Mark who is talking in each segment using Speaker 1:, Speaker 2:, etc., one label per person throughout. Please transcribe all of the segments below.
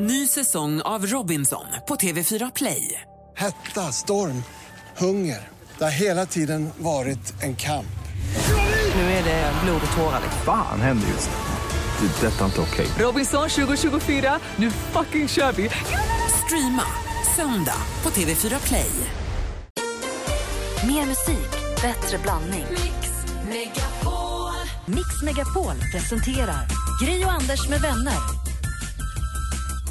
Speaker 1: Ny säsong av Robinson på TV4 Play.
Speaker 2: Hetta, storm, hunger. Det har hela tiden varit en kamp.
Speaker 1: Nu är det blod och tårar.
Speaker 3: Fan händer just nu. Det. är Detta är inte okej.
Speaker 1: Robinson 2024, nu fucking kör vi! Streama söndag på TV4 Play.
Speaker 4: Mer musik, bättre blandning. Mix Megapol presenterar Gri och Anders med vänner.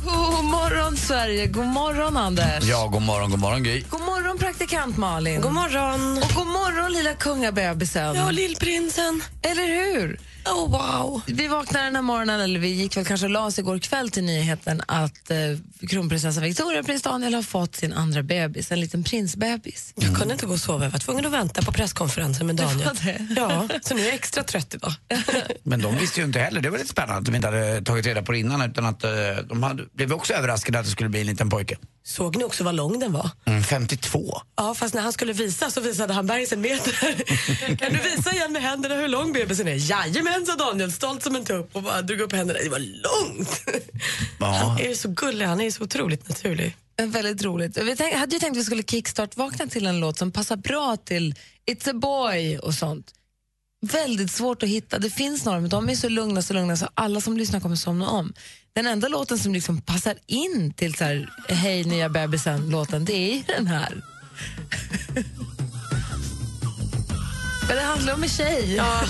Speaker 5: God morgon, Sverige. God morgon, Anders.
Speaker 6: Ja, god morgon, god morgon Gry.
Speaker 5: God morgon, praktikant Malin. God morgon. Och god morgon, lilla kungabebisen.
Speaker 7: Ja, lillprinsen.
Speaker 5: Eller hur?
Speaker 7: Oh, wow.
Speaker 5: Vi vaknade den här morgonen, eller vi gick väl kanske och la oss igår kväll till nyheten att eh, kronprinsessan Victoria och prins Daniel har fått sin andra bebis, en liten prinsbebis.
Speaker 7: Jag kunde inte gå och sova. Jag var tvungen att vänta på presskonferensen med Daniel.
Speaker 5: var det?
Speaker 7: Ja, så nu är jag extra trött idag.
Speaker 6: Men de visste ju inte heller, det var lite spännande att de inte hade tagit reda på det innan utan att eh, de hade, blev också överraskade att det skulle bli en liten pojke.
Speaker 7: Såg ni också vad lång den var?
Speaker 6: Mm, 52.
Speaker 7: Ja, fast när han skulle visa så visade han bergs en meter. kan du visa igen med händerna hur lång bebisen är? Jajamän, sa Daniel, stolt som en tupp och bara drog upp händerna. Det var långt.
Speaker 6: Ja.
Speaker 7: Han är ju så gullig, han är ju så otroligt naturlig.
Speaker 5: Eh, Väldigt roligt. Vi tänk, hade ju tänkt att vi skulle kickstart-vakna till en låt som passar bra till It's a boy och sånt. Väldigt svårt att hitta. Det finns några, men de är så lugna så lugna så alla som lyssnar kommer somna om. Den enda låten som liksom passar in till så här, Hej nya bebisen-låten, det är ju den här. men det handlar om en tjej.
Speaker 7: Ja.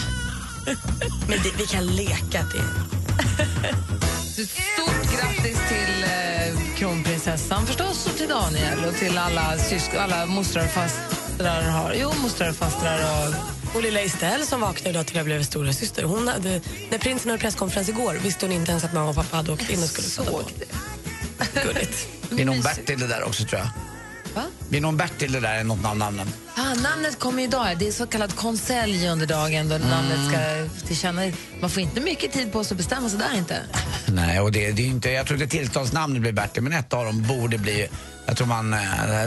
Speaker 7: Men det, vi kan leka till.
Speaker 5: Stort grattis till eh, kronprinsessan förstås och till Daniel och till alla, sysk- alla mostrar och fastrar. Har, jo, mostrar och fastrar och...
Speaker 7: Och lilla Estelle som vaknade idag till jag blev stora syster. Hon hade, när prinsen hade presskonferens igår visste hon inte ens att mamma och pappa hade åkt in och skulle föda barn. Gulligt.
Speaker 6: Det är någon Bertil det där också tror jag.
Speaker 5: Va?
Speaker 6: Det är någon Bertil det där, något av namnen.
Speaker 5: Ah, namnet kommer idag. Det är så kallad konselj under dagen då namnet ska tillkänna. Man får inte mycket tid på sig att bestämma sig där inte.
Speaker 6: Nej, och det, det är ju inte, jag tror inte tilltalsnamnet blir Bertil, men ett av dem borde bli, jag tror man eh,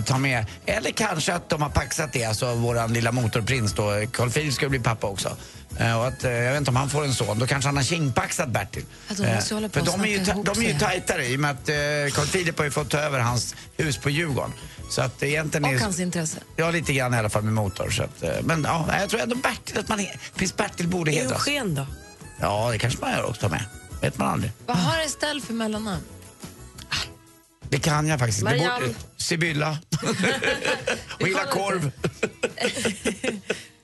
Speaker 6: tar med, eller kanske att de har paxat det, alltså våran lilla motorprins då, eh, Carl Philip ska ju bli pappa också. Eh, Och att, eh, jag vet inte om han får en son, då kanske han har kingpaxat Bertil.
Speaker 5: Ja, de
Speaker 6: Eh,
Speaker 5: Alltså, måste ju hålla på
Speaker 6: För
Speaker 5: och
Speaker 6: de är, ju,
Speaker 5: snacka
Speaker 6: ta-
Speaker 5: ihop
Speaker 6: de är ju
Speaker 5: sig.
Speaker 6: tajtare i och med att eh, Carl Philip har ju fått ta över hans hus på Djurgården. Så att egentligen
Speaker 5: Och
Speaker 6: är...
Speaker 5: hans intresse.
Speaker 6: Ja, lite grann i alla fall med motor. Så att, eh, men ja, jag tror ändå Bertil, att man, prins Bertil borde hedras.
Speaker 7: Eugen då?
Speaker 6: Ja, det kanske man gör också med. vet man aldrig.
Speaker 5: Vad har Estelle för mellannamn?
Speaker 6: Det kan jag faktiskt inte. Det
Speaker 5: Marianne.
Speaker 6: borde- Sibylla. och gilla
Speaker 5: kollar
Speaker 6: korv.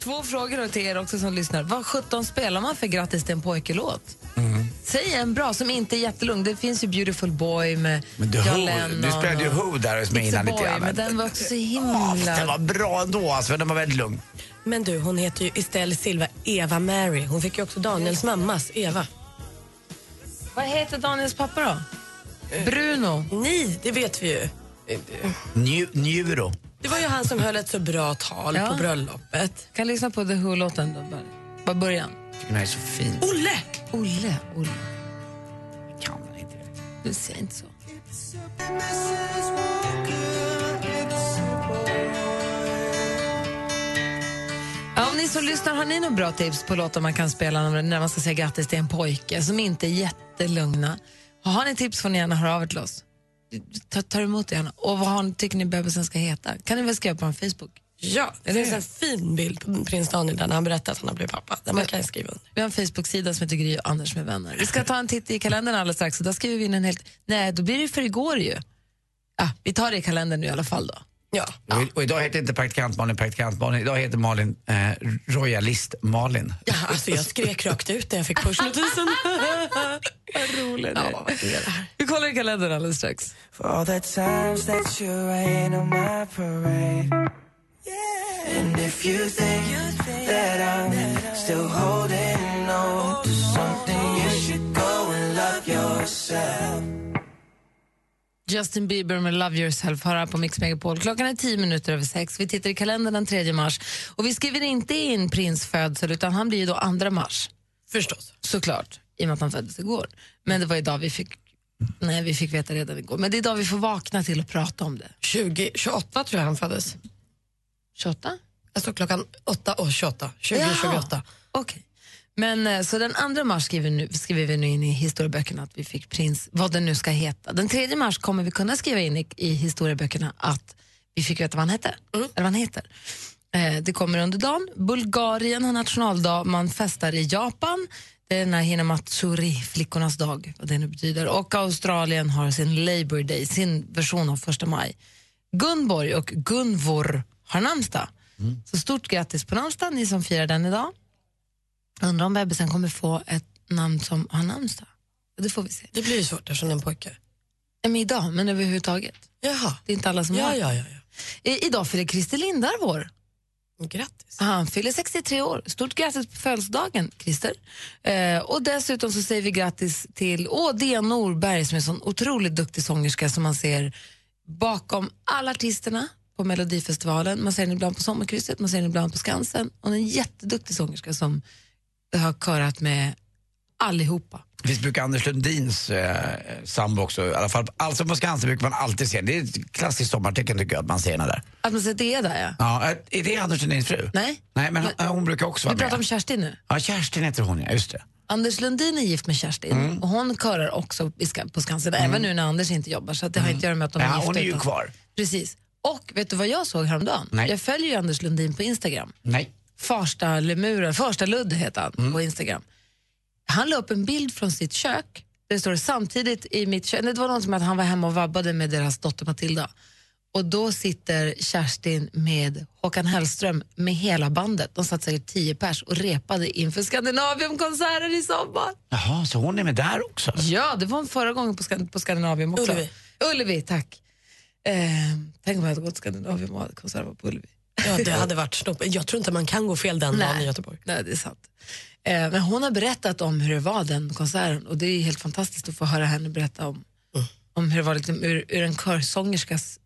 Speaker 5: Två frågor då till er också som lyssnar. Vad 17 spelar man för Grattis till en pojke-låt?
Speaker 6: Mm.
Speaker 5: Säg en bra som inte är jättelugn. Det finns ju Beautiful Boy med
Speaker 6: Men du,
Speaker 5: John
Speaker 6: Who,
Speaker 5: Lennon.
Speaker 6: du spelade ju
Speaker 5: och
Speaker 6: Who där som jag
Speaker 5: It's a
Speaker 6: innan lite
Speaker 5: Boy,
Speaker 6: grann.
Speaker 5: men den var också så
Speaker 6: Ja, fast den
Speaker 5: himla...
Speaker 6: var bra ändå alltså, men den var väldigt lugn.
Speaker 7: Men du, hon heter ju Estelle Silva Eva Mary. Hon fick ju också Daniels mammas Eva.
Speaker 5: Vad heter Daniels pappa då?
Speaker 6: Eh.
Speaker 5: Bruno.
Speaker 7: Ni, det vet vi ju.
Speaker 6: Nju- Njuro.
Speaker 7: Det var ju han som höll ett så bra tal
Speaker 5: Ja.
Speaker 7: på bröllopet.
Speaker 5: Kan lyssna på The Who-låten då bara. Bara början.
Speaker 6: Tycker den är så fin.
Speaker 7: Olle!
Speaker 5: Olle, Olle.
Speaker 6: Kan den inte.
Speaker 5: Du säger inte så. Ja, om ni som lyssnar, har ni några bra tips på låtar man kan spela när när man ska säga grattis till en pojke som inte är jättelugna? Har ni tips får ni gärna höra av er till oss. Ta, tar emot det gärna. Och vad har, ni- tycker ni bebisen ska heta? Kan ni väl skriva på en Facebook?
Speaker 7: Ja, det finns en fin bild på prins Daniel där när han berättar att han har blivit pappa. Där man kan skriva under.
Speaker 5: Vi har en Facebook-sida som heter Gry och Anders med vänner. Vi ska ta en titt i kalendern alldeles strax och där skriver vi in en helt... Nej, då blir det för igår ju. Ah, vi tar det i kalendern nu i alla fall då.
Speaker 7: Ja.
Speaker 6: Och, i- och idag heter inte praktikant Malin praktikant Malin. Idag heter Malin eh, royalist Malin.
Speaker 7: ja, alltså jag skrek rakt ut när jag fick pushnotisen.
Speaker 5: Ja, vad är det här? Vi kollar i kalendern alldeles strax.
Speaker 8: For all the times that you rain on my parade. And if you think that I'm still holding on to something, you should go and love yourself.
Speaker 5: Justin Bieber med Love Yourself hör här på Mix Megapol. Klockan är tio minuter över sex. Vi tittar i kalendern den 3 mars. Och vi skriver inte in prins födsel utan han blir ju då 2 mars.
Speaker 7: Förstås.
Speaker 5: Såklart, i och med att han föddes igår. Men det var idag vi fick... Nej, vi fick veta redan igår. Men det är idag vi får vakna till och prata om det.
Speaker 7: 20, 28 tror jag han föddes.
Speaker 5: 28?
Speaker 7: Alltså klockan 8 och 28. 20,
Speaker 5: Jaha,
Speaker 7: 28.
Speaker 5: Okej. Men eh, så den 2 mars skriver, nu, skriver vi nu in i historieböckerna att vi fick prins, vad den nu ska heta. Den 3 mars kommer vi kunna skriva in i, i historieböckerna att vi fick veta vad han hette. Eller vad han heter. Eh, det kommer under dagen. Bulgarien har nationaldag, man festar i Japan. Det är den här Hinamatsuri, flickornas dag, vad det nu betyder. Och Australien har sin Labour Day, sin version av första maj. Gunborg och Gunvor har namnsdag.
Speaker 7: Mm.
Speaker 5: Så stort grattis på namnsdagen, ni som firar den idag. Undrar om bebisen kommer få ett namn som har namnsdag. Det får vi se.
Speaker 7: Det blir ju svårt eftersom det är en pojke.
Speaker 5: Nej, men idag, men överhuvudtaget.
Speaker 7: Jaha.
Speaker 5: Det är inte alla som har.
Speaker 7: Ja, ja, ja.
Speaker 5: I, idag fyller Christer Lindarvår.
Speaker 7: ja. Grattis.
Speaker 5: Han fyller 63 år. Stort grattis på födelsedagen, Christer. Eh, och dessutom så säger vi grattis till Ådea Norberg som är en sån otroligt duktig sångerska som man ser bakom alla artisterna på Melodifestivalen. Man ser henne ibland på Sommarkrysset, man ser henne ibland på Skansen. Hon är en jätteduktig sångerska som har körat med allihopa.
Speaker 6: Visst brukar Anders Lundins eh, sambo också, i alla fall alltså på Skansen brukar man alltid se Det är ett klassiskt sommartecken tycker jag att man ser henne där.
Speaker 5: Att man säger det är där, ja.
Speaker 6: Ja, eh, är det Anders Lundins fru?
Speaker 5: Nej.
Speaker 6: Nej, men hon,
Speaker 5: Men-
Speaker 6: hon brukar
Speaker 5: Vi
Speaker 6: också vara
Speaker 5: pratar
Speaker 6: med.
Speaker 5: om Kerstin nu.
Speaker 6: Ja, Kerstin heter hon ja, just det.
Speaker 5: Anders Lundin är gift med Kerstin
Speaker 6: Mm.
Speaker 5: och hon körar också i Ska- på Skansen, även nu när Anders inte jobbar. Så att det har inte att göra med att de är
Speaker 6: Mm. Ja,
Speaker 5: gifta.
Speaker 6: hon är ju
Speaker 5: utan-
Speaker 6: kvar.
Speaker 5: Precis. Och vet du vad jag såg häromdagen?
Speaker 6: Nej.
Speaker 5: Jag följer ju Anders Lundin på Instagram.
Speaker 6: Nej.
Speaker 5: Farsta Lemuren, Farsta Ludd heter han på Instagram. Han la upp en bild från sitt kök. Det står samtidigt i mitt kök. Nej, Det var någon som att han var hemma och vabbade med deras dotter Matilda. Och då sitter Kerstin med Håkan Hellström med hela bandet. De satt säkert tio pers och repade inför Skandinaviumkonserten i sommar.
Speaker 6: Jaha, så hon är med där också?
Speaker 5: Ja, det var förra gången på, Skan- på Skandinavium också.
Speaker 7: Ullevi.
Speaker 5: Ullevi, tack. Eh, tänk om jag hade gått till Skandinavium och hade konsert var på Ullevi.
Speaker 7: Ja, det hade varit snopp. Jag tror inte man kan gå fel den dagen i Göteborg.
Speaker 5: Nej, det är sant. Eh, men hon har berättat om hur det var den konserten och det är helt fantastiskt att få höra henne berätta om, om hur det var liksom, ur, ur en körsångerskas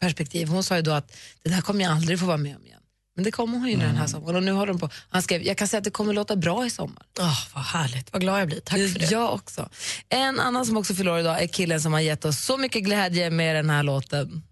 Speaker 5: perspektiv. Hon sa ju då att det där kommer jag aldrig få vara med om igen. Men det kommer hon ju den
Speaker 7: Mm.
Speaker 5: här sommaren och nu har de på. Han skrev, jag kan säga att det kommer låta bra i sommar.
Speaker 7: Åh, vad härligt. Vad glad jag blir. Tack för det.
Speaker 5: Jag också. En annan som också förlorar idag är killen som har gett oss så mycket glädje med den här låten.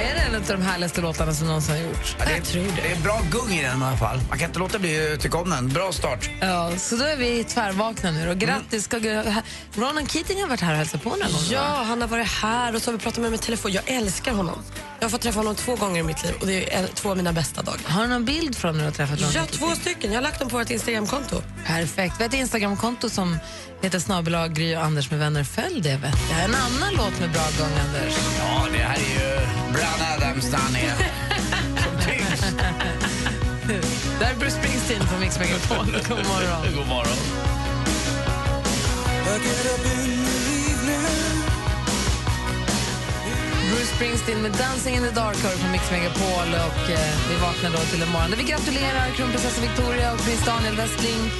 Speaker 5: Är det en av de härligaste låtarna som någonsin har gjorts?
Speaker 6: Ja, det, jag tror det. det är bra gung i den i alla fall. Man kan inte låta bli utekommen. Bra start.
Speaker 5: Ja, så då är vi tvärvakna nu
Speaker 7: Mm.
Speaker 5: och grattis. Ska gra- Ronan Keating har varit här och hälsat på några gånger.
Speaker 7: Ja, han har varit här och så har vi pratat med honom i telefon. Jag älskar honom. Jag har fått träffa honom två gånger i mitt liv och det är en, två av mina bästa dagar.
Speaker 5: Har du någon bild från när du har träffat Ronan?
Speaker 7: Ja, två stycken. Jag har lagt dem på vårt Instagramkonto.
Speaker 5: Perfekt. Vi har ett Instagramkonto som heter snabel-a Gry och Anders med vänner. Följ det. Vet jag. En annan låt med bra gång, Anders.
Speaker 6: Ja, det här är ju Brad Adams där han är. Som tyngst.
Speaker 5: Där är Bruce Springsteen på Mix Megapol. God morgon.
Speaker 6: God morgon.
Speaker 5: Bruce Springsteen med Dancing in the Dark hör på Mix Megapol. Och, eh, vi vaknar då till en morgon där vi gratulerar kronprinsessa Victoria och prins Daniel Westling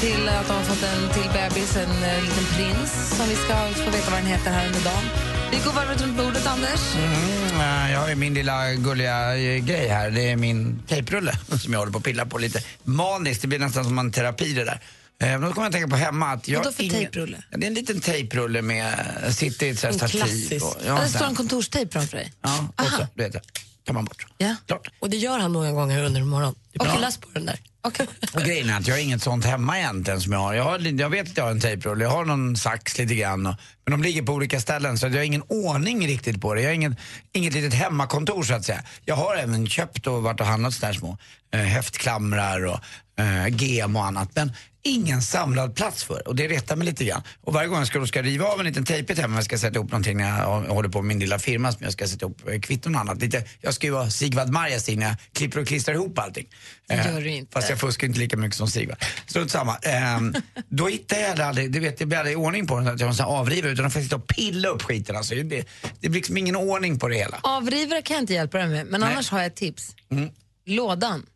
Speaker 5: till att de har fått en till bebis, en eh, liten prins som vi ska få veta vad den heter här under dagen. Vi går varvet runt bordet, Anders.
Speaker 6: Mm, eh, jag har ju min lilla gulliga eh, grej här. Det är min tejprulle som jag håller på att pilla på lite maniskt. Det blir nästan som en terapi det där. Eh, Men då kommer jag att tänka på hemma att jag...
Speaker 5: Vadå för
Speaker 6: ingen-
Speaker 5: tejprulle?
Speaker 6: Ja, Det är en liten tejprulle med... eh, Sitter i ett sånt här stativ.
Speaker 7: klassisk.
Speaker 6: och-
Speaker 5: Ja,
Speaker 6: Ja,
Speaker 5: det
Speaker 6: så
Speaker 5: står
Speaker 6: här.
Speaker 5: en kontorstejp framför dig.
Speaker 6: ja och så, du vet det. Tar man bort.
Speaker 5: Ja.
Speaker 6: Klart.
Speaker 7: Och det gör han några gånger under morgonen. Du
Speaker 5: Okej.
Speaker 7: pillas på den där.
Speaker 5: Okej.
Speaker 6: Och grejen är att jag har inget sånt hemma egentligen som jag har. Jag, har, li- jag vet att jag har en tejprulle, jag har någon sax lite grann. Och, men de ligger på olika ställen så att jag har ingen ordning riktigt på det. Jag har ingen, inget litet hemmakontor så att säga. Jag har även köpt och varit och handlat sådana här små eh, höftklamrar och eh, gem och annat. Men ingen samlad plats för och det retar mig lite grann. Och varje gång jag ska, då ska riva av en liten tejpbit hemma, jag ska sätta ihop någonting när jag hå- håller på med min lilla firma som jag ska sätta ihop eh, kvitton och annat. Lite, jag ska ju vara Sigvard Marjasin när jag klipper och klistrar ihop allting. Eh, Det
Speaker 5: gör du inte.
Speaker 6: Fast jag fuskar inte lika mycket som Sigvard. Strunt samma. Ehm, då hittar jag det aldrig, du vet jag blir aldrig i ordning på den så att jag måste avriva utan de får sitta och pilla upp skiten. Alltså, det, det blir liksom ingen ordning på det hela.
Speaker 5: Avrivare kan jag inte hjälpa dig med, men annars har jag ett tips. Lådan.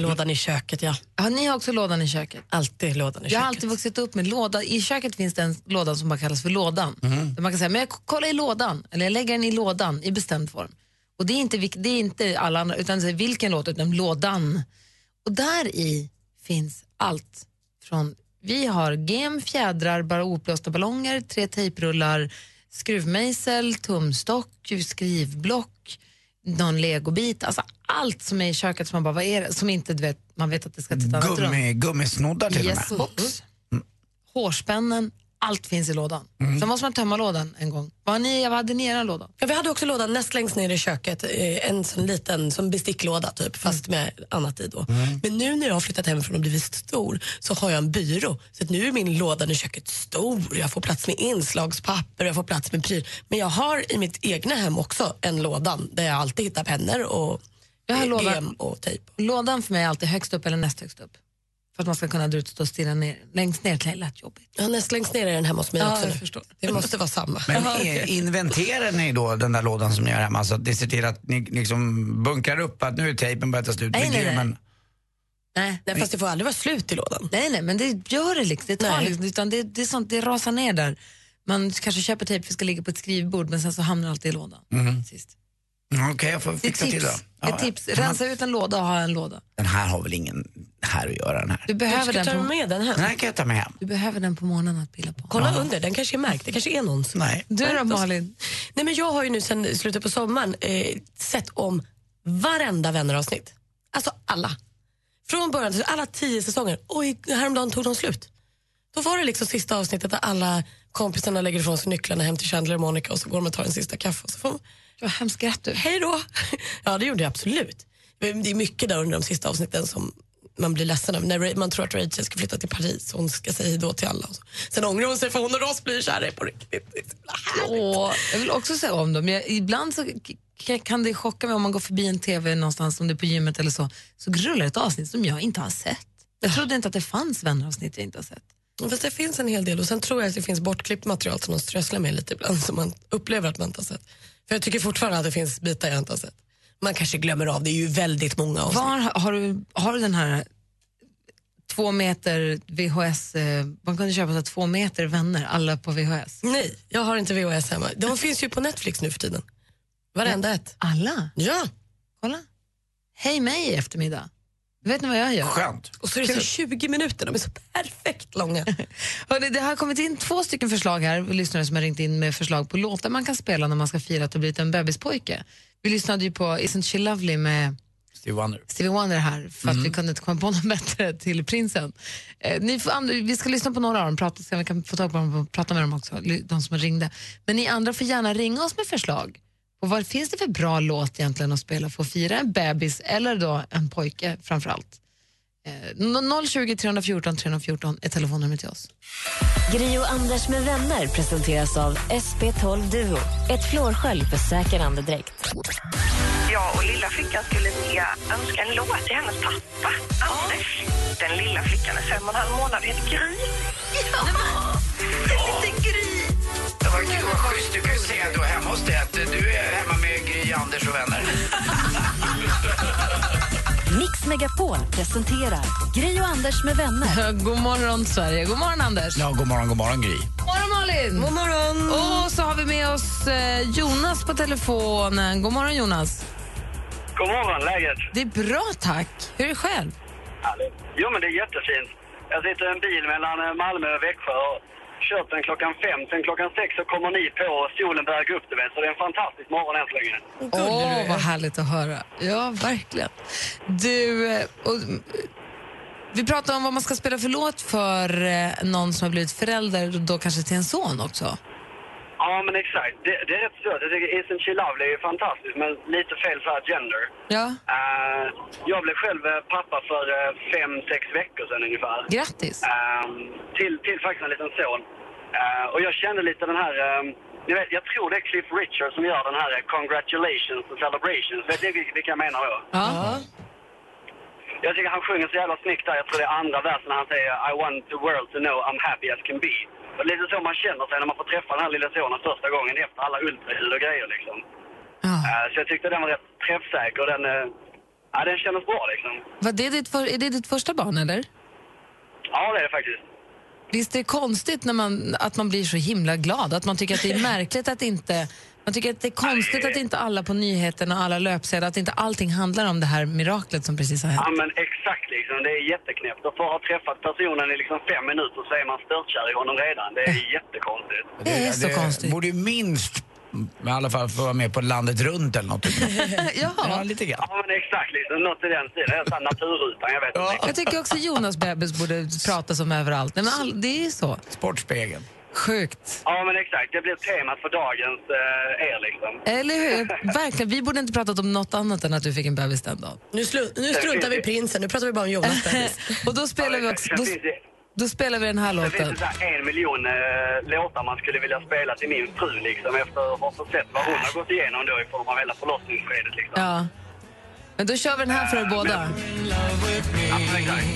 Speaker 7: Lådan i köket, ja.
Speaker 5: Ja, ni har också lådan i köket?
Speaker 7: Alltid lådan i
Speaker 5: Jag har
Speaker 7: köket.
Speaker 5: alltid vuxit upp med låda. I köket finns det en låda som bara kallas för lådan.
Speaker 7: Mhm.
Speaker 5: Där man kan säga, men jag k- kollar i lådan, eller jag lägger den i lådan i bestämd form. Och det är inte, vilk- det är inte alla andra, utan det är vilken låt, utan lådan. Och där i finns allt. Från, vi har gem, fjädrar, bara uppblåsta ballonger, tre tejprullar, skruvmejsel, tumstock, skrivblock, någon legobit, alltså allt som är i köket som man bara, vad är det? Som inte du vet, man vet att det ska till ett annat rum.
Speaker 6: Gummi, gummisnoddar till
Speaker 5: Yes,
Speaker 6: och med. Mm.
Speaker 5: box. Hårspännen, allt finns i lådan. Sen måste man tömma lådan en gång. Vad, har ni, vad hade ni i er låda?
Speaker 7: Ja, vi hade också lådan näst längst ner i köket, eh, en sån liten som besticklåda typ, fast
Speaker 5: Mm.
Speaker 7: med annat i då. Men nu när jag har flyttat hemifrån och blivit stor så har jag en byrå. Så att nu är min låda i köket stor, jag får plats med inslagspapper, jag får plats med prylar. Men jag har i mitt egna hem också en låda där jag alltid hittar pennor och
Speaker 5: Jag har
Speaker 7: eh,
Speaker 5: låda.
Speaker 7: gem och tejp.
Speaker 5: Lådan för mig är alltid högst upp eller näst högst upp. För att man ska kunna dra ut och stå och stirra ner. Längst ner till det lät jobbigt.
Speaker 7: Ja, näst längst ner är den hemma hos mig
Speaker 5: Ja,
Speaker 7: också
Speaker 5: jag
Speaker 7: nu.
Speaker 5: förstår.
Speaker 7: Det måste vara samma.
Speaker 6: Men i- inventerar ni då den där lådan som ni gör hemma? Så att ni ser till att ni liksom bunkrar upp att nu är tejpen börjat ta slut.
Speaker 5: Nej,
Speaker 6: med
Speaker 5: nej, nej.
Speaker 6: gummen.
Speaker 5: Nej,
Speaker 7: Nej, fast det får aldrig vara slut i lådan.
Speaker 5: nej, nej men det gör det liksom. Det, tar
Speaker 7: Nej.
Speaker 5: liksom utan det, det, är sånt, det rasar ner där. Man kanske köper tejp för att ska ligga på ett skrivbord men sen så hamnar allt i lådan. Sist.
Speaker 6: Mm, Okej, jag får
Speaker 5: Det är ett
Speaker 6: fixa till
Speaker 5: tips.
Speaker 6: då. Ja,
Speaker 5: ett tips.
Speaker 6: ja. Men
Speaker 5: Rensa ut en låda och ha en låda.
Speaker 6: Den här har väl ingen här att göra den här.
Speaker 5: Du behöver,
Speaker 7: Ska
Speaker 5: den
Speaker 7: ta
Speaker 5: på,
Speaker 7: med den
Speaker 6: Den
Speaker 7: hem?
Speaker 6: här kan jag ta med hem.
Speaker 5: du behöver den på morgonen att pilla på.
Speaker 7: Kolla under, den kanske är märkt. Det kanske är någon som...
Speaker 6: Nej.
Speaker 5: Du då Malin?
Speaker 7: Nej, men jag har ju nu sen slutet på sommaren eh, sett om varenda vänneravsnitt. Alltså alla. Från början till alla tio säsonger. Och i- häromdagen tog de slut. Då var det liksom sista avsnittet där alla kompisarna lägger ifrån sig nycklarna hem till Chandler och Monica och så går de och tar en sista kaffe och så får de,
Speaker 5: Vad hemskt grät du.
Speaker 7: hej då. Ja, det gjorde jag absolut. Men det är mycket där under de sista avsnitten som man blir ledsen av. När Ra- man tror att Rachel ska flytta till Paris och hon ska säga hej då till alla. Och så. Sen ångrar hon sig för hon och Ross blir kära på riktigt. Det är så jävla härligt.
Speaker 5: Åh, jag vill också säga om dem. Jag, ibland så k- kan det chocka mig om man går förbi en tv någonstans, om det är på gymmet eller så, så rullar ett avsnitt som jag inte har sett. Jag trodde inte att det fanns vänneravsnitt jag inte har sett.
Speaker 7: Fast det finns en hel del och sen tror jag att det finns bortklippt material som de strösslar med lite ibland som man upplever att man inte har sett. För jag tycker fortfarande att det finns bitar jag inte har sett. Man kanske glömmer av, det är ju väldigt många avsnitt.
Speaker 5: Var har- har du, har du den här två meter VHS, eh, man kunde köpa så här två meter vänner, alla på VHS.
Speaker 7: Nej, jag har inte VHS hemma. De finns ju på Netflix nu för tiden. Varenda ett.
Speaker 5: Alla?
Speaker 7: Ja,
Speaker 5: Kolla. Hej mig i eftermiddag. Vet ni vad jag gör?
Speaker 6: Skönt.
Speaker 7: och så är det så 20 minuter, de är så perfekt långa.
Speaker 5: Hörrni, det har kommit in två stycken förslag här, lyssnare som har ringt in med förslag på låtar man kan spela när man ska fira att det blivit en bebispojke. Vi lyssnade ju på Isn't she lovely med
Speaker 6: Steve Wonder.
Speaker 5: Stevie Wonder här för att vi kunde inte komma på något bättre till prinsen. Eh, ni får, and- vi ska lyssna på några av dem, prata, se om vi kan få tag på dem och prata med dem också, li- de som ringde. Men ni andra får gärna ringa oss med förslag. Och vad finns det för bra låt egentligen att spela för att fira en bebis eller då en pojke framför allt? Eh, 020 314 314 är telefonnumret till oss.
Speaker 4: Gri och Anders med vänner presenteras av SP12 Duo. Ett flårskölj för säker andedräkt.
Speaker 9: Jag och lilla flickan skulle vilja önska en låt till hennes pappa, Anders. Den lilla flickan är fem och en halv månad, heter Gry. Ja! Lite Gry!
Speaker 6: Det var kul, vad schysst. Du kan ju säga då hemma hos dig att eh, du är hemma med Gry, Anders och vänner.
Speaker 4: Mix Megapol presenterar Gri och Anders med vänner.
Speaker 5: Eh, God morgon, Sverige. God morgon, Anders.
Speaker 6: Ja, god morgon, god morgon Gry.
Speaker 5: God morgon, Malin.
Speaker 7: God morgon!
Speaker 5: Och så har vi med oss eh, Jonas på telefonen. God morgon, Jonas.
Speaker 10: God morgon, läget?
Speaker 5: Det är bra, tack. Hur är det själv?
Speaker 10: Härligt. Jo, men det är jättefint. Jag sitter i en bil mellan eh, Malmö och Växjö och kört den klockan fem. Sen klockan sex så kommer ni på och solen börjar gå upp, du vet. Så det är en fantastisk morgon än så länge.
Speaker 5: Åh, vad härligt att höra. Ja, verkligen. Du, eh, och, mm, vi pratade om vad man ska spela för låt för eh, någon som har blivit förälder, och då kanske till en son också.
Speaker 10: Ja, men exakt. Det, det är rätt svårt. Jag tycker Isn't She Lovely är ju fantastisk, men lite fel så här gender.
Speaker 5: Ja,
Speaker 10: Eh, jag blev själv eh, pappa för eh, fem, sex veckor sedan ungefär.
Speaker 5: grattis.
Speaker 10: Ehm, till, till faktiskt en liten son. Eh, och jag kände lite den här... ehm, ni vet, jag tror det är Cliff Richard som gör den här eh, Congratulations and Celebrations. Vet ni vil- vilka jag menar då?
Speaker 5: Ja.
Speaker 10: Jag tycker han sjunger så jävla snyggt där. Jag tror det är andra versen när han säger I want the world to know I'm happy as can be. Och lite så man känner sig när man får träffa den här lilla sonen första gången efter alla ultraljud och grejer liksom.
Speaker 5: ja.
Speaker 10: Eh, så jag tyckte den var rätt träffsäker och den... eh, ja, den kändes bra liksom.
Speaker 5: Var det ditt för, är det ditt första barn, eller?
Speaker 10: Ja, det är det faktiskt.
Speaker 5: Visst är det konstigt när man, att man blir så himla glad? Att man tycker att det är märkligt att inte... Man tycker att det är konstigt att inte alla på nyheterna och alla löpsedlar, att inte allting handlar om det här miraklet som precis har hänt.
Speaker 10: Ja men exakt liksom, det är jätteknäppt. Och för att ha träffat personen i liksom fem minuter så är man störtkär i honom redan. Det är jättekonstigt.
Speaker 5: Det är så
Speaker 6: det
Speaker 5: konstigt.
Speaker 6: borde ju minst Men I alla fall få vara med på Landet runt eller något. typ.
Speaker 5: ja.
Speaker 6: ja, lite grann.
Speaker 10: Ja, men exakt. Liksom. Något i den stilen. En sån här Naturrutan, jag vet inte.
Speaker 5: Jag tycker också Jonas bebis borde pratas om överallt. Nej, men all, det är ju så.
Speaker 6: Sportspegeln.
Speaker 5: Sjukt.
Speaker 10: Ja, men exakt. Det blir temat för dagens eh, er, liksom.
Speaker 5: Eller hur? Verkligen, vi borde inte pratat om något annat än att du fick en bebis den dagen.
Speaker 7: Nu, slu- nu struntar vi i prinsen, nu pratar vi bara om Jonas bebis.
Speaker 5: Och då spelar vi också,
Speaker 10: Sen
Speaker 5: då,
Speaker 10: finns det,
Speaker 5: då spelar vi den här
Speaker 10: sen finns
Speaker 5: låten.
Speaker 10: det så här en miljon eh, låtar man skulle vilja spela till min fru, liksom, efter att ha sett vad hon har gått igenom då i form av hela förlossningsskedet, liksom.
Speaker 5: Ja. Men då kör vi den här för er båda.
Speaker 10: Ja, men exakt.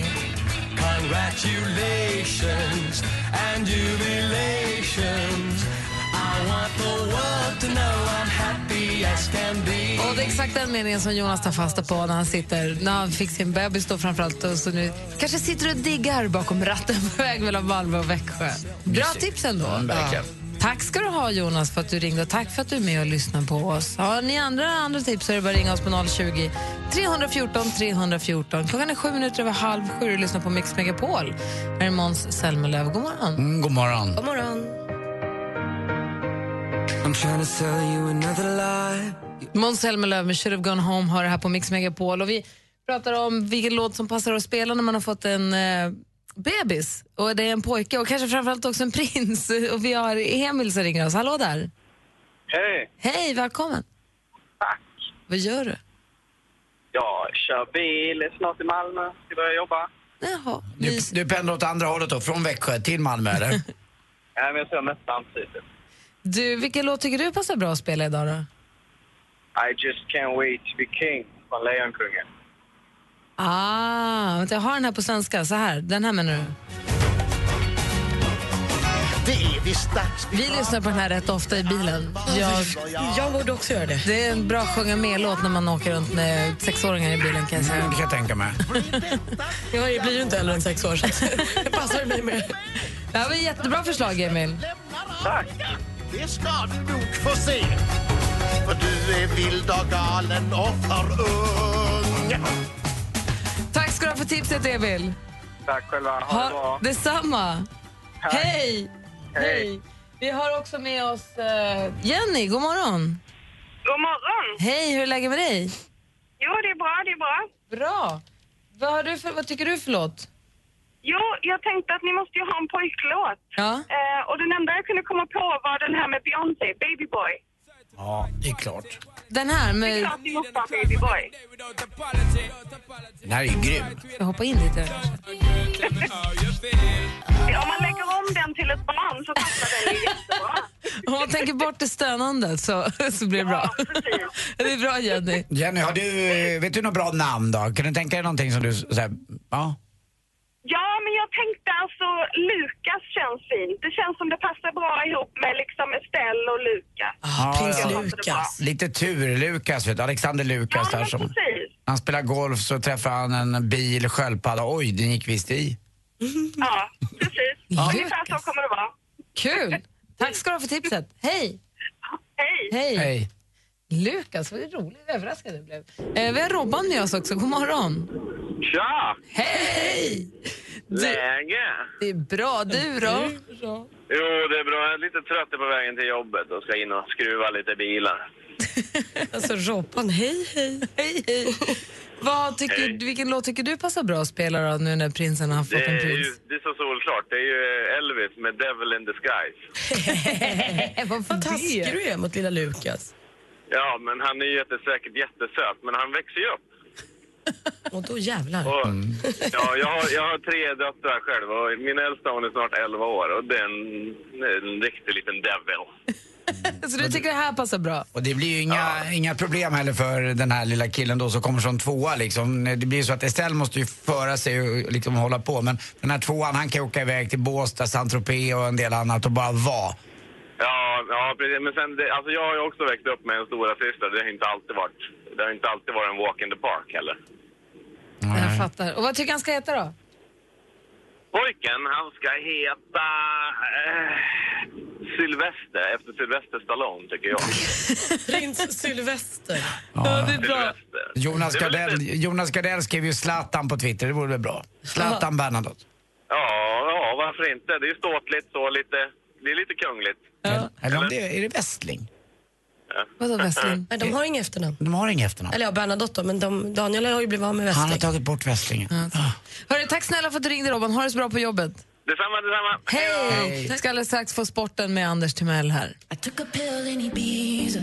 Speaker 5: Och det är exakt den meningen som Jonas tar fasta på när han sitter, när han fick sin bebis då framförallt. Och så nu kanske sitter och diggar bakom ratten på väg mellan Malmö och Växjö. Bra tips ändå.
Speaker 6: verkligen.
Speaker 5: Tack ska du ha Jonas för att du ringde och tack för att du är med och lyssnar på oss. Har ni andra, andra tips så är det bara att ringa oss på 020 314 314. Klockan är sju minuter över halv sju och lyssnar på Mix Megapol. Här är Måns Zelmerlöw. God morgon.
Speaker 6: Mm, god morgon.
Speaker 7: God morgon.
Speaker 8: I'm trying to sell you another lie.
Speaker 5: Måns Zelmerlöw med Should have gone home har det här på Mix Megapol. Och vi pratar om vilken låt som passar att spela när man har fått en eh, bebis. Och det är en pojke och kanske framförallt också en prins. Och vi har Emil som ringer oss. Hallå där!
Speaker 10: Hej!
Speaker 5: Hej, välkommen!
Speaker 10: Tack!
Speaker 5: Vad gör du?
Speaker 10: Jag kör bil, är snart i Malmö, ska börja jobba.
Speaker 5: Jaha,
Speaker 6: Du,
Speaker 5: mys.
Speaker 6: du pendlar åt andra hållet då, från Växjö till Malmö eller?
Speaker 10: Ja, men jag kör mest samtidigt.
Speaker 5: Du, vilken låt tycker du passar bra att spela idag då?
Speaker 10: I just can't wait to be king från Lejonkungen.
Speaker 5: Ah, vänta, jag har den här på svenska. Så här, den här menar du? Vi lyssnar på den här rätt ofta i bilen. Jag
Speaker 7: Jag borde också göra det.
Speaker 5: Det är en bra sjunga med-låt när man åker runt med sexåringar i bilen. Kan jag
Speaker 6: Mm,
Speaker 5: säga.
Speaker 6: det kan jag tänka mig.
Speaker 7: Jag blir ju inte äldre än sex år, så det passar mig med.
Speaker 5: Det här var ett jättebra förslag, Emil.
Speaker 10: Tack!
Speaker 11: Det ska du nog få se För du är vild och galen och för ung
Speaker 5: Tack ska du ha för tipset, Emil.
Speaker 10: Tack själva, ha det
Speaker 5: Ha,
Speaker 10: bra.
Speaker 5: detsamma. Hej.
Speaker 10: Hej.
Speaker 5: Vi har också med oss eh, Jenny. God morgon.
Speaker 9: God morgon!
Speaker 5: Hej, hur är läget med dig?
Speaker 9: Jo, det är bra, det är bra.
Speaker 5: Bra. Vad, har du för, vad tycker du för låt?
Speaker 9: Jo, jag tänkte att ni måste ju ha en pojklåt.
Speaker 5: Ja.
Speaker 9: Eh, och den enda jag kunde komma på var den här med Beyoncé, Baby Boy.
Speaker 6: Ja, det är klart.
Speaker 5: Den här
Speaker 9: Det är
Speaker 5: med...
Speaker 9: klart ni måste ha Baby Boy.
Speaker 6: Den här är ju grym.
Speaker 5: Jag hoppar in lite.
Speaker 9: Om man lägger om den till ett barn så passar den ju jättebra.
Speaker 5: Om man tänker bort det stönandet så, så blir det bra.
Speaker 9: Ja, precis.
Speaker 5: Det är bra, Jenny.
Speaker 6: Jenny, har du, eh, vet du något bra namn då? Kan du tänka dig någonting som du, så här, ja?
Speaker 9: Ja, men jag tänkte alltså Lukas känns fint. Det känns som det passar bra ihop med liksom Estelle och Lukas.
Speaker 6: Ja,
Speaker 7: Prins
Speaker 6: ja.
Speaker 7: Lukas.
Speaker 6: Lite tur-Lukas, vet du. Alexander
Speaker 9: Ja,
Speaker 6: Lukas där
Speaker 9: men
Speaker 6: som...
Speaker 9: precis.
Speaker 6: Han spelar golf, så träffar han en bil, sköldpadda. Oj, den gick visst i.
Speaker 9: Ja, precis. Ungefär så
Speaker 5: Lukas.
Speaker 9: kommer det vara.
Speaker 5: Kul! Tack ska du ha för tipset. Hej!
Speaker 9: Hej!
Speaker 5: Hej!
Speaker 6: Hej.
Speaker 5: Lukas, vad rolig överraskad du blev. Eh, vi har Robban med oss också. God morgon!
Speaker 10: Tja!
Speaker 5: Hej! Du,
Speaker 10: Läge?
Speaker 5: det är bra. Du då?
Speaker 10: Jo, det är bra. Jag är lite trött på vägen till jobbet och ska in och skruva lite bilar.
Speaker 5: Alltså Robban, hej hej! Hej hej! Vad
Speaker 10: Hej.
Speaker 5: tycker, vilken låt tycker du passar bra att spela då, nu när prinsen har fått
Speaker 10: Det
Speaker 5: en
Speaker 10: är, ju,
Speaker 5: prins?
Speaker 10: det är så solklart. Det är ju eh, Elvis med Devil in Disguise.
Speaker 5: Eh, Varför
Speaker 7: Vad taskig
Speaker 5: det?
Speaker 7: du är mot lilla Lukas.
Speaker 10: Ja, men han är ju jätte- säkert jättesöt, men han växer ju upp.
Speaker 7: Och då jävlar.
Speaker 10: Och, ja, jag, har, jag har tre döttrar själv och min äldsta hon är snart 11 år och det är en, en riktig liten devil.
Speaker 5: Så du tycker det här passar bra?
Speaker 6: Och det blir ju inga, inga problem heller för den här lilla killen då som kommer som tvåa liksom. Det blir ju så att Estelle måste ju föra sig och liksom hålla på. Men den här tvåan, han kan ju åka iväg till Båstad, Saint-Tropez och en del annat och bara vara.
Speaker 10: Ja, ja precis. Men sen, det, alltså jag har ju också växt upp med en stora syster. Det har inte alltid varit, det har inte alltid varit en walk in the park heller.
Speaker 5: Jag fattar. Och vad tycker han ska heta då?
Speaker 10: Pojken, han ska heta eh, Sylvester, efter Sylvester Stallone tycker jag.
Speaker 7: Prins Sylvester.
Speaker 5: Ja, det är bra.
Speaker 10: Sylvester.
Speaker 6: Jonas
Speaker 10: Det är väl
Speaker 6: Gardell,
Speaker 10: lite-
Speaker 6: Jonas Gardell skrev ju Zlatan på Twitter, det vore väl bra? Zlatan Bernadotte.
Speaker 10: Ja, ja, varför inte? Det är ju ståtligt så, lite, det är lite kungligt.
Speaker 6: Eller om det är, är det Westling?
Speaker 5: Vadå Wessling?
Speaker 7: Nej, de har inga efternamn.
Speaker 6: De har inga efternamn.
Speaker 7: Eller ja, Bernadotte då, men de, Daniel har ju blivit av med
Speaker 6: Han har
Speaker 7: Westling.
Speaker 6: tagit bort Westlingen.
Speaker 5: Hörru, tack snälla för att du ringde Robban. Ha det så bra på jobbet.
Speaker 12: Detsamma, detsamma.
Speaker 5: Hej! Vi ska alldeles strax få sporten med Anders Timell här.
Speaker 13: I took a pill in Ibiza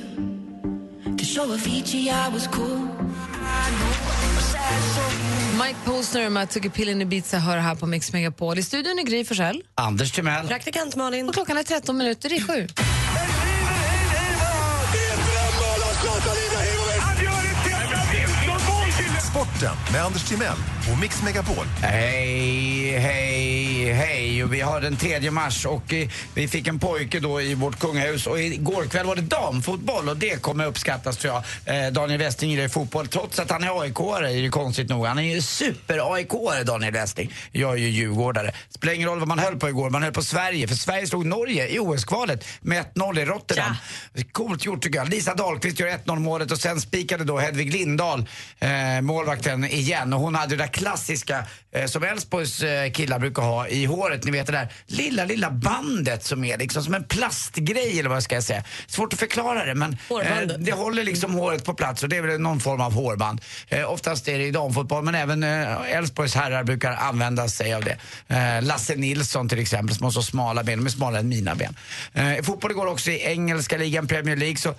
Speaker 13: to show Avicii I was cool.
Speaker 5: Mike Posner och Matt Zuckerpillen i Ibiza hör här på Mix Megapol. I studion är Gry Forssell.
Speaker 6: Anders Timell.
Speaker 5: Praktikant Malin. Och klockan är 13 minuter i sju.
Speaker 11: Sporten med Anders Timell och Mix Megapol.
Speaker 6: Hej, hej, hej. Och vi har den 3 mars och eh, vi fick en pojke då i vårt kungahus och igår kväll var det damfotboll och det kommer uppskattas tror jag. Eh, Daniel Westing gillar ju fotboll trots att han är AIK-are är det konstigt nog. Han är ju super-AIK-are Daniel Westing. Jag är ju djurgårdare. Spelar ingen roll vad man höll på igår, man höll på Sverige. För Sverige slog Norge i OS-kvalet med 1-0 i Rotterdam. Coolt gjort tycker jag. Lisa Dahlqvist gör 1-0 målet och sen spikade då Hedvig Lindahl, eh, målvakten, igen. Och hon hade det där klassiska eh, som Elfsborgs eh, killar brukar ha i håret. Ni vet det där lilla, lilla bandet som är liksom som en plastgrej eller vad ska jag säga. Svårt att förklara det men eh, det håller liksom håret på plats och det är väl någon form av hårband. Eh, oftast är det i damfotboll men även eh, Elfsborgs herrar brukar använda sig av det. Eh, Lasse Nilsson till exempel som har så smala ben, de är smalare än mina ben. Eh, I fotboll igår också i engelska ligan Premier League så eh,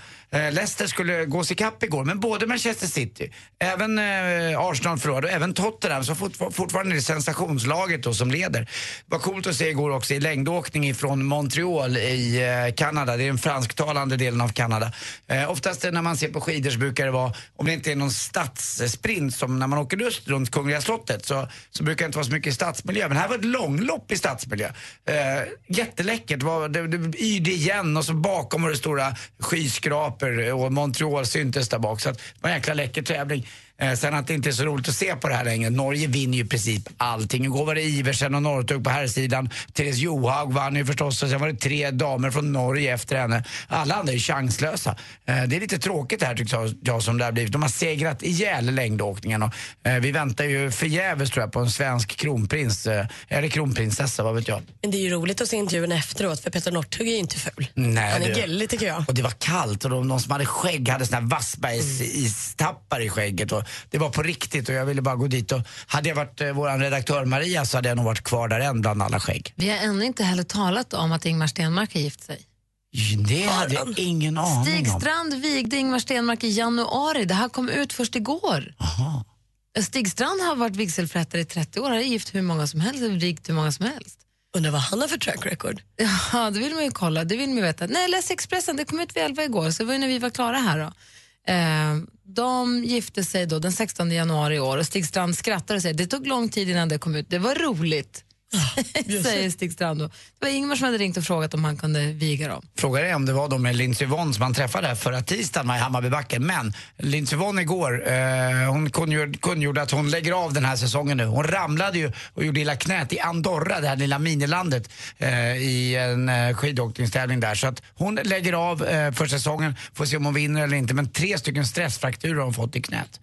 Speaker 6: Leicester skulle gås ikapp igår men både Manchester City, även eh, Arsenal förlorade och även Tottenham som fortfar- fortfarande är det sensationslaget då som leder. Det var coolt att se igår också i längdåkning från Montreal i eh, Kanada, det är den fransktalande delen av Kanada. Eh, oftast när man ser på skidor så brukar det vara, om det inte är någon stadssprint som när man åker just runt Kungliga slottet så, så brukar det inte vara så mycket stadsmiljö. Men här var ett långlopp i stadsmiljö. Eh, jätteläckert, det var, det, det, yrde igen och så bakom var det stora skyskrapor och Montreal syntes där bak. Så att, det var en jäkla läcker tävling. Eh, sen att det inte är så roligt att se på det här längre. Norge vinner ju i princip allting. Igår var det Iversen och Norrtug på här sidan. Therese Johaug vann ju förstås och sen var det tre damer från Norge efter henne. Alla andra är ju chanslösa. Eh, det är lite tråkigt det här tycker jag, jag som det har blivit. De har segrat ihjäl längdåkningen och eh, vi väntar ju förgäves tror jag på en svensk kronprins, eh, eller kronprinsessa, vad vet jag.
Speaker 7: Men det är ju roligt att se intervjun efteråt, för Petter Northug är ju inte ful.
Speaker 6: Nej,
Speaker 7: Han är
Speaker 6: det-
Speaker 7: gällig tycker jag.
Speaker 6: Och det var kallt och de, de som hade skägg hade såna här Wassbergs-istappar i skägget. Och det var på riktigt och jag ville bara gå dit. Och hade jag varit eh, vår redaktör Maria så hade jag nog varit kvar där än bland alla skägg.
Speaker 5: Vi har ännu inte heller talat om att Ingmar Stenmark har gift sig.
Speaker 6: Det hade jag ingen aning
Speaker 5: Stig
Speaker 6: om.
Speaker 5: Strand vigde Ingmar Stenmark i januari. Det här kom ut först igår. Stig Strand har varit vigselförrättare i 30 år. Han har gift hur många som helst och vigt hur många som helst.
Speaker 7: Undrar vad han har för track record?
Speaker 5: Ja, det vill man ju kolla. Det vill man ju veta. Nej, jag läste Expressen. Det kom ut vid 11 igår, så det var ju när vi var klara här. Då. Eh, de gifte sig då den 16 januari i år och Stig Strand skrattar och säger det tog lång tid innan det kom ut. Det var roligt, säger Stig Strand. Då. Det var Ingmar som hade ringt och frågat om han kunde viga dem.
Speaker 6: Frågar är om det var de med Lindsey Vonn som han träffade här förra tisdagen var i Hammarbybacken. Men Lindsey Vonn igår, eh, hon kungjorde, kungjorde att hon lägger av den här säsongen nu. Hon ramlade ju och gjorde illa knät i Andorra, det här lilla minilandet, eh, i en eh, skidåkningstävling där. Så att hon lägger av eh, för säsongen, får se om hon vinner eller inte. Men tre stycken stressfrakturer har hon fått i knät.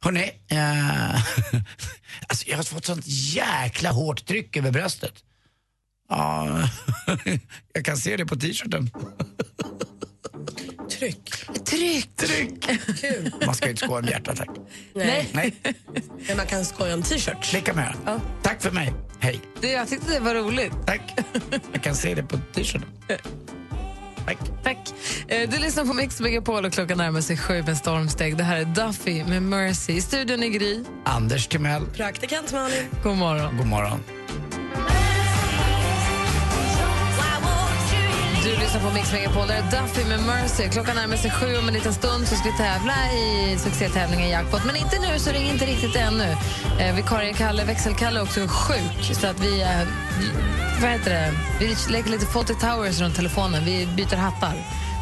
Speaker 6: Hörrni, eh, alltså jag har fått sånt jäkla hårt tryck över bröstet. Ja, jag kan se det på t-shirten.
Speaker 7: Tryck.
Speaker 5: Tryck!
Speaker 6: Tryck!
Speaker 7: Kul.
Speaker 6: Man ska ju inte skoja om hjärtattack.
Speaker 7: Nej.
Speaker 6: Nej.
Speaker 7: Men man kan skoja om t-shirts.
Speaker 6: Det kan man göra. Tack för mig. Hej.
Speaker 5: Det, jag tyckte det var roligt.
Speaker 6: Tack. Jag kan se det på t-shirten.
Speaker 5: Tack. Eh, Du lyssnar på Mix Megapol och klockan närmar sig sju med stormsteg. Det här är Duffy med Mercy. I studion är Gry.
Speaker 6: Anders Timell.
Speaker 7: Praktikant Malin.
Speaker 5: God morgon.
Speaker 6: God morgon.
Speaker 5: Du lyssnar på Mix Megapol. Det här är Duffy med Mercy. Klockan närmar sig sju. Om en liten stund så ska vi tävla i succétävlingen Jackpot. Men inte nu, så ring inte riktigt ännu. Eh, vikarie Kalle, växelkalle, är också sjuk. Så att vi... Eh, vad heter det? Vi lägger lite Fawlty Towers runt telefonen. Vi byter hattar.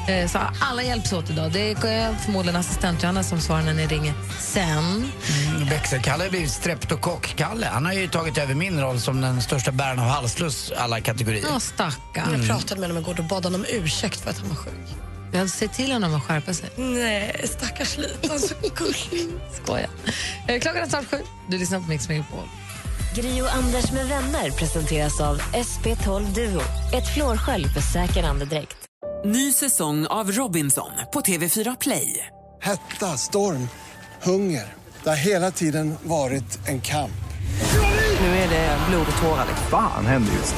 Speaker 5: Eh, så alla hjälps åt idag. Det är eh, förmodligen assistent Johanna som svarar när ni ringer sen.
Speaker 6: Mm, Växelkalle har blivit streptokock-Kalle. Han har ju tagit över min roll som den största bäraren av halsfluss alla kategorier.
Speaker 5: Ja, stackarn.
Speaker 6: Mm.
Speaker 7: Jag pratade med honom igår, då bad han om ursäkt för att han var sjuk.
Speaker 5: Jag ser till honom att skärpa sig.
Speaker 7: Nej, stackars liten. Så gullig.
Speaker 5: Skoja. Eh, Klockan är snart sju. Du lyssnar på Mix Megapol.
Speaker 4: Gri och Anders med vänner presenteras av SP12 Duo. Ett flårskölj för säker andedräkt.
Speaker 1: Ny säsong av Robinson på TV4 Play.
Speaker 2: Hetta, storm, hunger. Det har hela tiden varit en kamp.
Speaker 1: Nu är det blod och tårar. liksom.
Speaker 3: Fan händer just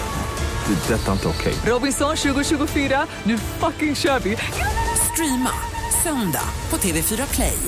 Speaker 3: nu. Det. är Detta är inte okej.
Speaker 1: Robinson 2024, nu fucking kör vi! Streama söndag på TV4 Play.